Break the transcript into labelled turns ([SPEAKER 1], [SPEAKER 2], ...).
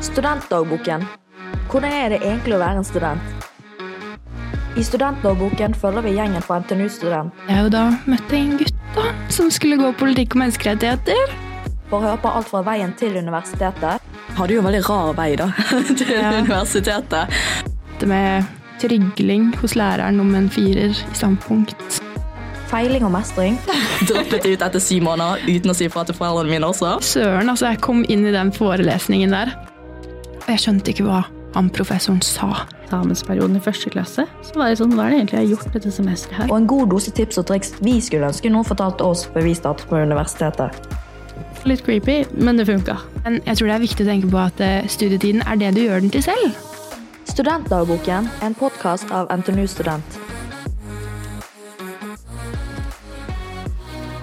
[SPEAKER 1] Studentdagboken. Hvordan er det egentlig å være en student? I Studentdagboken følger vi gjengen fra NTNU-student
[SPEAKER 2] Jeg har jo da møtt en gutt da, som skulle gå politikk og menneskerettigheter.
[SPEAKER 1] for å høre på alt fra veien til universitetet.
[SPEAKER 3] hadde jo en veldig rar vei da, til
[SPEAKER 2] Ja.
[SPEAKER 3] universitetet.
[SPEAKER 2] Det med trygling hos læreren om en firer i standpunkt.
[SPEAKER 1] Feiling og mestring.
[SPEAKER 3] Droppet ut etter syv måneder uten å si fra til foreldrene mine også.
[SPEAKER 2] Søren, altså, jeg kom inn i den forelesningen der, og jeg skjønte ikke hva han professoren sa.
[SPEAKER 4] eksamensperioden i første klasse, så var jeg sånn, hva er det egentlig jeg har gjort dette semesteret her?
[SPEAKER 1] Og en god dose tips og triks vi skulle ønske noen fortalte oss før vi startet på universitetet.
[SPEAKER 4] Litt creepy, men det funka.
[SPEAKER 2] Men jeg tror det er viktig å tenke på at eh, studietiden er det du gjør den til selv.
[SPEAKER 1] Studentdagboken, en podkast av NTNU Student.